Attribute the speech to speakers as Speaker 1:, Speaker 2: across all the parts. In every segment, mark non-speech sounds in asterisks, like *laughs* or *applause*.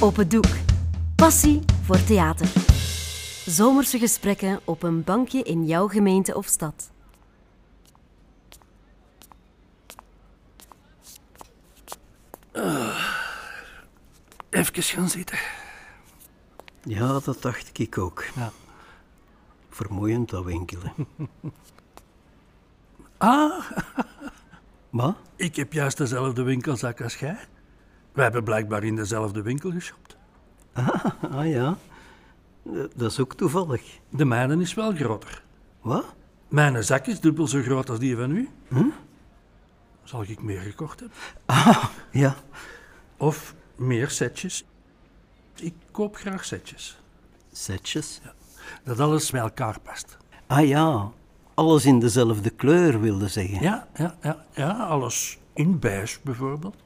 Speaker 1: Op het doek. Passie voor theater. Zomerse gesprekken op een bankje in jouw gemeente of stad.
Speaker 2: Even gaan zitten.
Speaker 3: Ja, dat dacht ik ook.
Speaker 2: Ja.
Speaker 3: Vermoeiend dat winkelen.
Speaker 2: *laughs* Ah,
Speaker 3: *laughs* maar,
Speaker 2: ik heb juist dezelfde winkelzak als jij. We hebben blijkbaar in dezelfde winkel geshopt.
Speaker 3: ah ja, D- dat is ook toevallig.
Speaker 2: De mijne is wel groter.
Speaker 3: Wat?
Speaker 2: Mijn zak is dubbel zo groot als die van u. Hm? Zal ik meer gekocht hebben?
Speaker 3: Ja,
Speaker 2: Of meer setjes? Ik koop graag setjes.
Speaker 3: setjes.
Speaker 2: Dat alles bij elkaar past.
Speaker 3: Ah ja, alles in dezelfde kleur wilde zeggen.
Speaker 2: Ja, ja, ja. ja alles in beige bijvoorbeeld.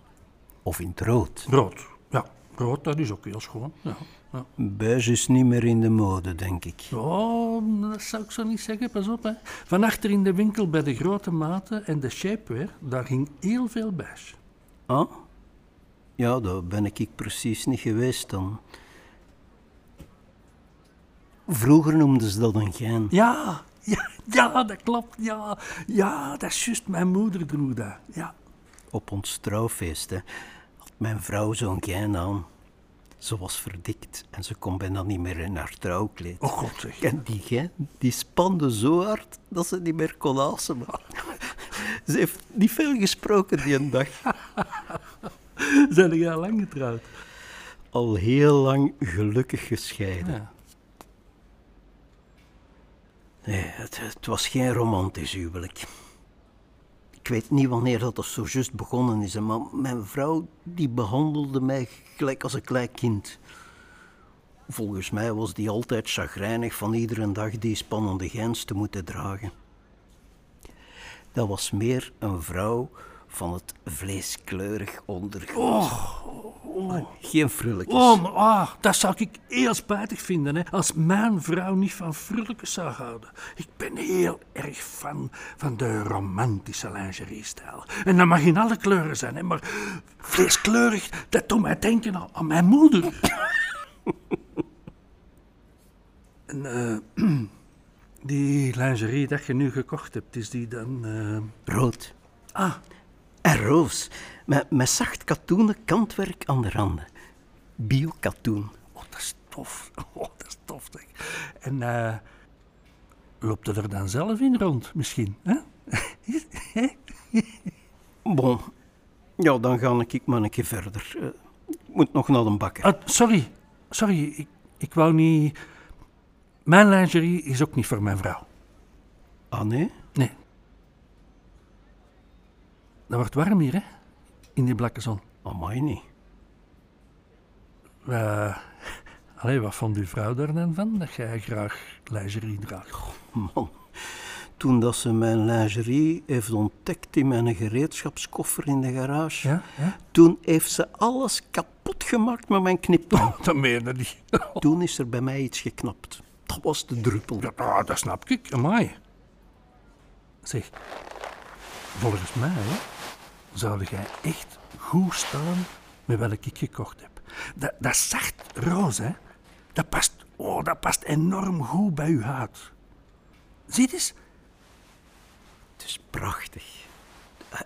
Speaker 3: Of in het rood.
Speaker 2: Rood. Ja, rood, dat is ook heel schoon. Ja. Ja.
Speaker 3: Beige is niet meer in de mode, denk ik.
Speaker 2: Oh, dat zou ik zo niet zeggen, pas op. Hè. Van achter in de winkel bij de grote maten en de shapewear, daar ging heel veel beige.
Speaker 3: Ah? Ja, daar ben ik ik precies niet geweest dan. Vroeger noemden ze dat een gein.
Speaker 2: Ja, ja, ja, dat klopt. Ja, ja, dat is juist. Mijn moeder droeg dat. Ja.
Speaker 3: Op ons trouwfeest hè, had mijn vrouw zo'n gein aan. Ze was verdikt en ze kon bijna niet meer in haar trouwkleed.
Speaker 2: Oh god *laughs* zeg.
Speaker 3: En die gein, die spande zo hard dat ze niet meer kon asemen. ze heeft niet veel gesproken die een dag.
Speaker 2: Zijn jij al lang getrouwd?
Speaker 3: Al heel lang gelukkig gescheiden.
Speaker 2: Ja.
Speaker 3: Nee, het, het was geen romantisch huwelijk. Ik weet niet wanneer dat er zo juist begonnen is, hè, maar mijn vrouw die behandelde mij gelijk als een klein kind. Volgens mij was die altijd chagrijnig van iedere dag die spannende gens te moeten dragen. Dat was meer een vrouw van het vleeskleurig ondergoed. Geen frulletjes.
Speaker 2: Oh, maar, ah, dat zou ik heel spijtig vinden hè, als mijn vrouw niet van vrolijke zou houden. Ik ben heel erg fan van de romantische lingerie-stijl. En dat mag in alle kleuren zijn, hè, maar vleeskleurig, dat doet mij denken aan, aan mijn moeder. en, eh, *clears throat* die lingerie dat je nu gekocht hebt, is die dan. eh,
Speaker 3: Rood.
Speaker 2: Ah,
Speaker 3: En roos, met, met zacht katoenen kantwerk aan de randen. Bio-katoen.
Speaker 2: oh, dat is *laughs* tof. Oh, dat is tof, zeg. En eh loopt het er dan zelf in rond, misschien? Hè?
Speaker 3: Bon, ja, dan ga ik maar een keer verder. Eh, Ik moet nog naar de bakker.
Speaker 2: Ah, sorry, sorry, ik, ik wou niet. Mijn lingerie is ook niet voor mijn vrouw.
Speaker 3: Ah, nee?
Speaker 2: Nee. Dat wordt warm hier, hè? In die blakke zon.
Speaker 3: Amai niet.
Speaker 2: Eh, allee, wat vond uw vrouw daar dan van? Dat jij graag lingerie draagt.
Speaker 3: Man, toen dat ze mijn lingerie heeft ontdekt in mijn gereedschapskoffer in de garage,
Speaker 2: Ja? ja?
Speaker 3: toen heeft ze alles kapot gemaakt met mijn kniptang.
Speaker 2: Dat meende niet.
Speaker 3: toen is er bij mij iets geknapt. Dat was de druppel.
Speaker 2: Ja, ah, dat snap ik. Amai. Zeg, volgens mij hè, zou jij echt goed staan met wat ik gekocht heb. Dat, dat zacht roze, hè, dat past, oh, dat past enorm goed bij uw huid. Zie eens.
Speaker 3: Het is prachtig.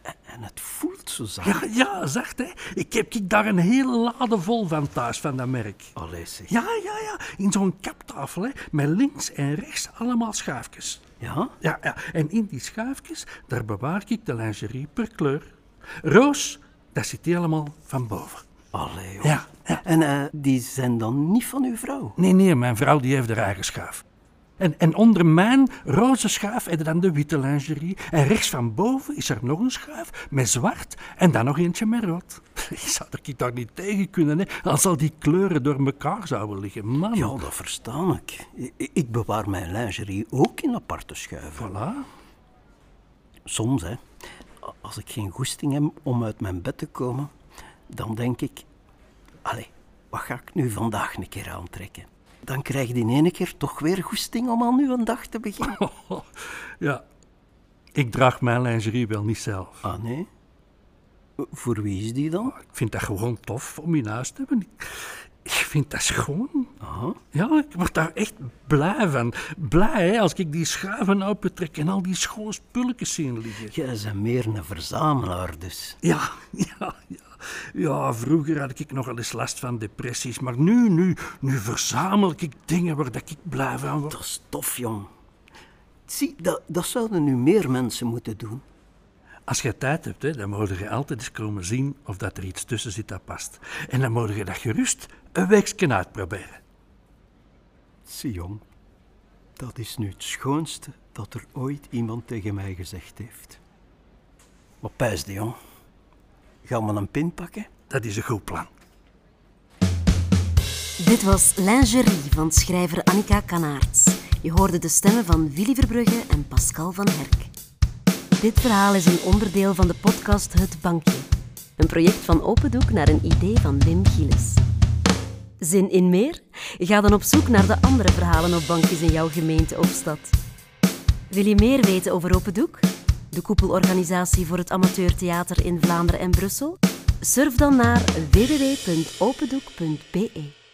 Speaker 3: En- En het voelt zo zacht.
Speaker 2: Ja, ja, zacht, hè. Ik heb ik daar een hele lade vol van thuis, van dat merk.
Speaker 3: Allee, zeg.
Speaker 2: Ja, ja, ja. In zo'n kaptafel, hè. Met links en rechts allemaal schuifjes.
Speaker 3: Ja?
Speaker 2: Ja, ja, en in die schuifjes, daar bewaar ik de lingerie per kleur. Roos, dat zit helemaal van boven.
Speaker 3: Allee, joh.
Speaker 2: Ja, ja.
Speaker 3: En eh, die zijn dan niet van uw vrouw?
Speaker 2: Nee, nee, mijn vrouw die heeft haar eigen schuif. En, en onder mijn roze schuif heb je dan de witte lingerie. En rechts van boven is er nog een schuif met zwart en dan nog eentje met rood. *laughs* Ik zou er daar niet tegen kunnen, hè, als al die kleuren door elkaar zouden liggen. Man,
Speaker 3: Ja, dat verstaan ik. I- i- Ik bewaar mijn lingerie ook in aparte schuiven.
Speaker 2: voilà.
Speaker 3: Soms, hè. a- Als ik geen goesting heb om uit mijn bed te komen, dan denk ik... Allee, wat ga ik nu vandaag een keer aantrekken? Dan krijg je in ene keer toch weer goesting om aan uw dag te beginnen.
Speaker 2: Ja, ik draag mijn lingerie wel niet zelf.
Speaker 3: *laughs* Ah, nee? Voor wie is die dan?
Speaker 2: Ik vind dat gewoon tof om in huis te hebben. Ik- vind dat schoon.
Speaker 3: Aha.
Speaker 2: Ja, ik word daar echt blij van. Blij hè, als ik die schuiven opentrek en al die schone spulletjes zien liggen.
Speaker 3: Jij bent meer een verzamelaar dus.
Speaker 2: Ja, *laughs* ja, ja. Ja, vroeger had ik nogal eens last van depressies, maar nu, nu, nu verzamel ik dingen waar dat ik blij van word.
Speaker 3: Dat is tof, jong. Zie, dat, dat zouden nu meer mensen moeten doen.
Speaker 2: Als je tijd hebt, hè, dan moet je altijd eens komen zien of dat er iets tussen zit dat past. En dan moet je dat gerust een weekje uitproberen.
Speaker 3: Zie, jong. Dat is nu het schoonste dat er ooit iemand tegen mij gezegd heeft. Wat pijsde, jong? Gaan we een pin pakken?
Speaker 2: Dat is een goed plan.
Speaker 1: Dit was Lingerie van schrijver Annika Kanaerts. Je hoorde de stemmen van Willy Verbrugge en Pascal van Herk. Dit verhaal is een onderdeel van de podcast Het Bankje. Een project van Opendoek naar een idee van Wim Gilles. Zin in meer? Ga dan op zoek naar de andere verhalen op bankjes in jouw gemeente of stad. Wil je meer weten over Open Doek? De koepelorganisatie voor het amateurtheater in Vlaanderen en Brussel? Surf dan naar www.opendoek.be.